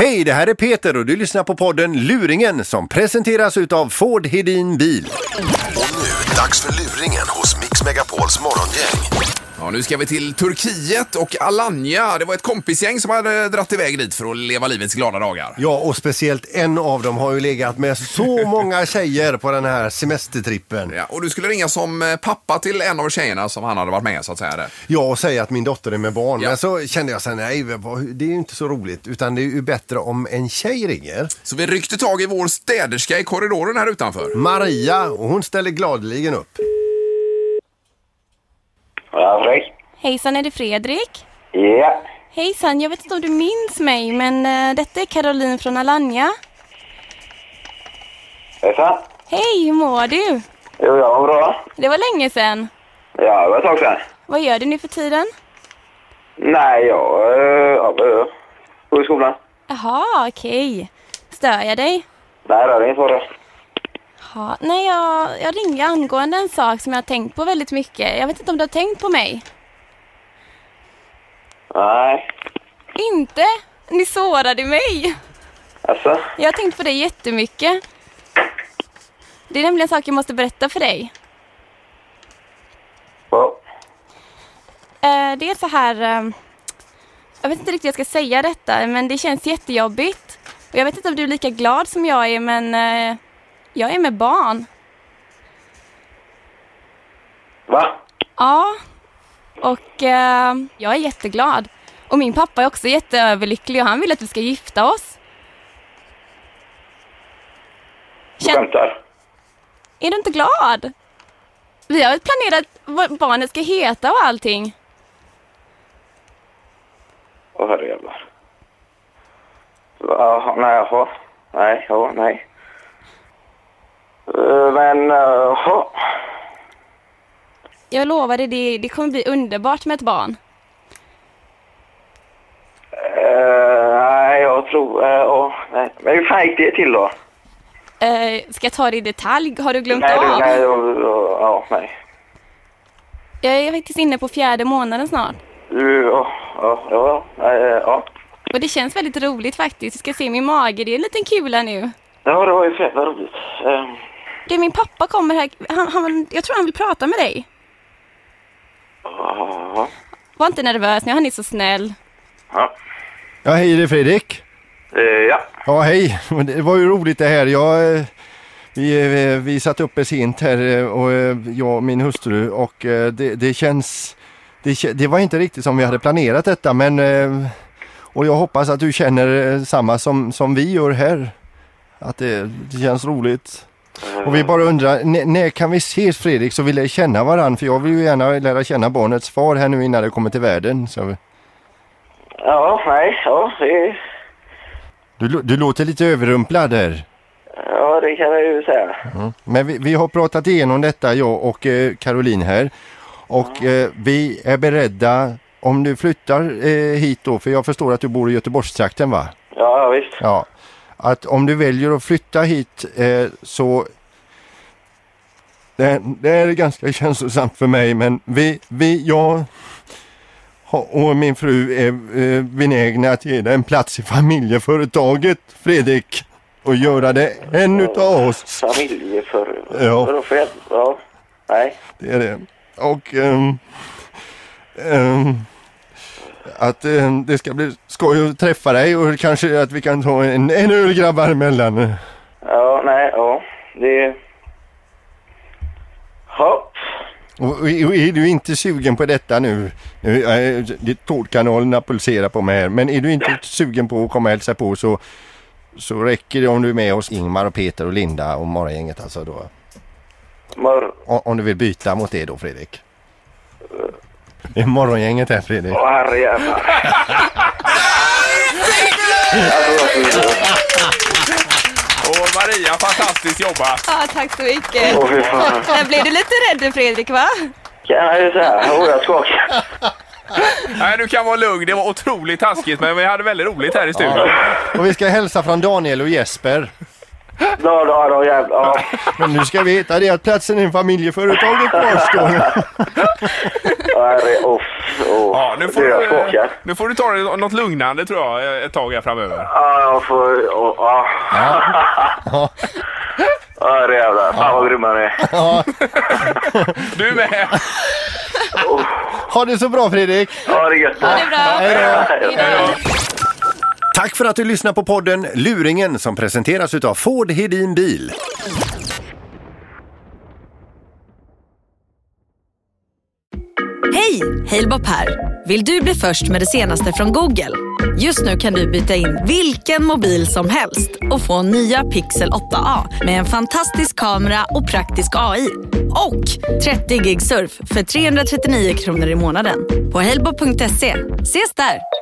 Hej, det här är Peter och du lyssnar på podden Luringen som presenteras utav Ford Hedin Bil. Och nu, dags för luringen hos Mix Megapols morgongäng. Ja, nu ska vi till Turkiet och Alanya. Det var ett kompisgäng som hade dratt iväg dit för att leva livets glada dagar. Ja, och speciellt en av dem har ju legat med så många tjejer på den här semestertrippen. Ja, och du skulle ringa som eh, pappa till en av tjejerna som han hade varit med så att säga. Där. Jag och säga att min dotter är med barn, Ja. men så kände jag så här, nej, vad- det är ju inte så roligt, utan det är ju bättre om en tjej ringer. Så vi ryckte tag i vår städerska i korridoren här utanför. Maria, och hon ställer gladeligen upp. Fredrik? Hejsan, är det Fredrik? Ja. Hejsan, jag vet inte om du minns mig, men eh, detta är Caroline från Alanya. Hejsan. Hej, hur mår du? Jo, jag mår bra. Det var länge sedan. Ja, det var ett tag sedan. Vad gör du nu för tiden? Nej, jag... eh, Ja, uh, går i skolan. Jaha, okej. Stör jag dig? Nej, det är inget fara. Ja, nej, jag, jag ringde angående en sak som jag har tänkt på väldigt mycket. Jag vet inte om du har tänkt på mig? Nej. Inte? Ni sårade mig! Alltså? Jag har tänkt på dig jättemycket. Det är nämligen en sak jag måste berätta för dig. Ja. Eh, det är så här... Eh, jag vet inte riktigt hur jag ska säga detta, men det känns jättejobbigt. Och jag vet inte om du är lika glad som jag är, men eh, jag är med barn. Va? Ja, och eh, jag är jätteglad. Och min pappa är också jätteöverlycklig och han vill att vi ska gifta oss. Du Kän- skämtar? är du inte glad? Vi har väl planerat vad barnet ska heta och allting. Åh, herrejävlar. Jaha, nej, jaha. Nej, ja, nej. Eh, Men, eh, jaha. Jag lovar dig, det, det kommer bli underbart med ett barn. Eh, nej, jag tror... eh, Ja, nej. Men hur fan gick det till då? Eh, ska jag ta det i detalj? Har du glömt Nej, du, av? nej, jag- jag- ja, nej. Jag är faktiskt inne på fjärde månaden snart. Du, ja, ja, ja, nej, eh, ja. Och det känns väldigt roligt faktiskt. Du ska se min mage, det är en liten kula nu. Ja, det var ju för jävla roligt. Ehm, Du, min pappa kommer här. Han, han, jag tror han vill prata med dig. Ja. Var inte nervös nu, han är så snäll. Ja. Ja, hej, det är Fredrik. Eh, ja. Ja, hej. Det var ju roligt det här. Jag, eh, vi, eh, vi satt uppe sent här, eh, och eh, jag och min hustru, och eh, det, det känns... Det, kä- det var inte riktigt som vi hade planerat detta, men... eh, Och jag hoppas att du känner eh, samma som, som vi gör här. Att det, det känns roligt. Och vi bara undrar, n- när kan vi ses Fredrik så vi lär känna varandra? För jag vill ju gärna lära känna barnets far här nu innan det kommer till världen. Så. Ja, nej, ja, det, Du, lå- du låter lite överrumplad där. ja, det kan jag ju säga. Men vi, vi har pratat igenom detta, jag och eh, Caroline här. Och eh, vi är beredda, om du flyttar eh, hit då, för jag förstår att du bor i Göteborgstrakten va? Ja, ja visst. Ja. Att om du väljer att flytta hit eh, så... Det, det är ganska känslosamt för mig men vi, vi jag och min fru är eh, benägna att ge dig en plats i familjeföretaget Fredrik. Och göra det en utav oss. Familjeför... Ja. Vadå för jävla... Ja. Nej. Det är det. Och ehm, ehm, att ehm, det ska bli skoj att träffa dig och kanske att vi kan ta en, en öl grabbar emellan. Ja, nej, ja. Det... Ja. Och, och är du inte sugen på detta nu, nu eh, det- tårtkanalerna pulserar på mig här, men är du inte sugen på att komma och hälsa på så, så räcker det om du är med oss Ingmar och Peter och Linda och morgongänget alltså då. Mör... O- Om du vill byta mot det då Fredrik. Det är morgongänget här Fredrik. Åh, herrejävlar. Alltså, Och Maria, fantastiskt jobbat! Ja, tack så mycket. Åh, fy fan. Där blev du lite rädd Fredrik, va? Kan jag ju säga. Åh, jag skakar. Nej, du kan vara lugn. Det var otroligt taskigt, men vi hade väldigt roligt här i studion. Och vi ska hälsa från Daniel och Jesper. Ja, ja, ja, jävlar. Ja. Men nu ska vi veta det att platsen i familjeföretaget kvarstår. Herre, uff, oh. Ja, nu får, du, jag du, eh, skakar. nu får du ta dig något lugnande tror jag ett tag här framöver. Ja, jag får... åh, Ja. Ja, herre jävlar. Fan vad grymma ni är. Du med! Ha det så bra Fredrik! Ja, det är gött. Ha det bra. Hej då. Tack för att du lyssnar på podden Luringen som presenteras utav Ford Hedin Bil. Hej! Halebop här. Vill du bli först med det senaste från Google? Just nu kan du byta in vilken mobil som helst och få nya Pixel 8A med en fantastisk kamera och praktisk AI. Och 30 gig surf för 339 kronor i månaden på halebop.se. Ses där!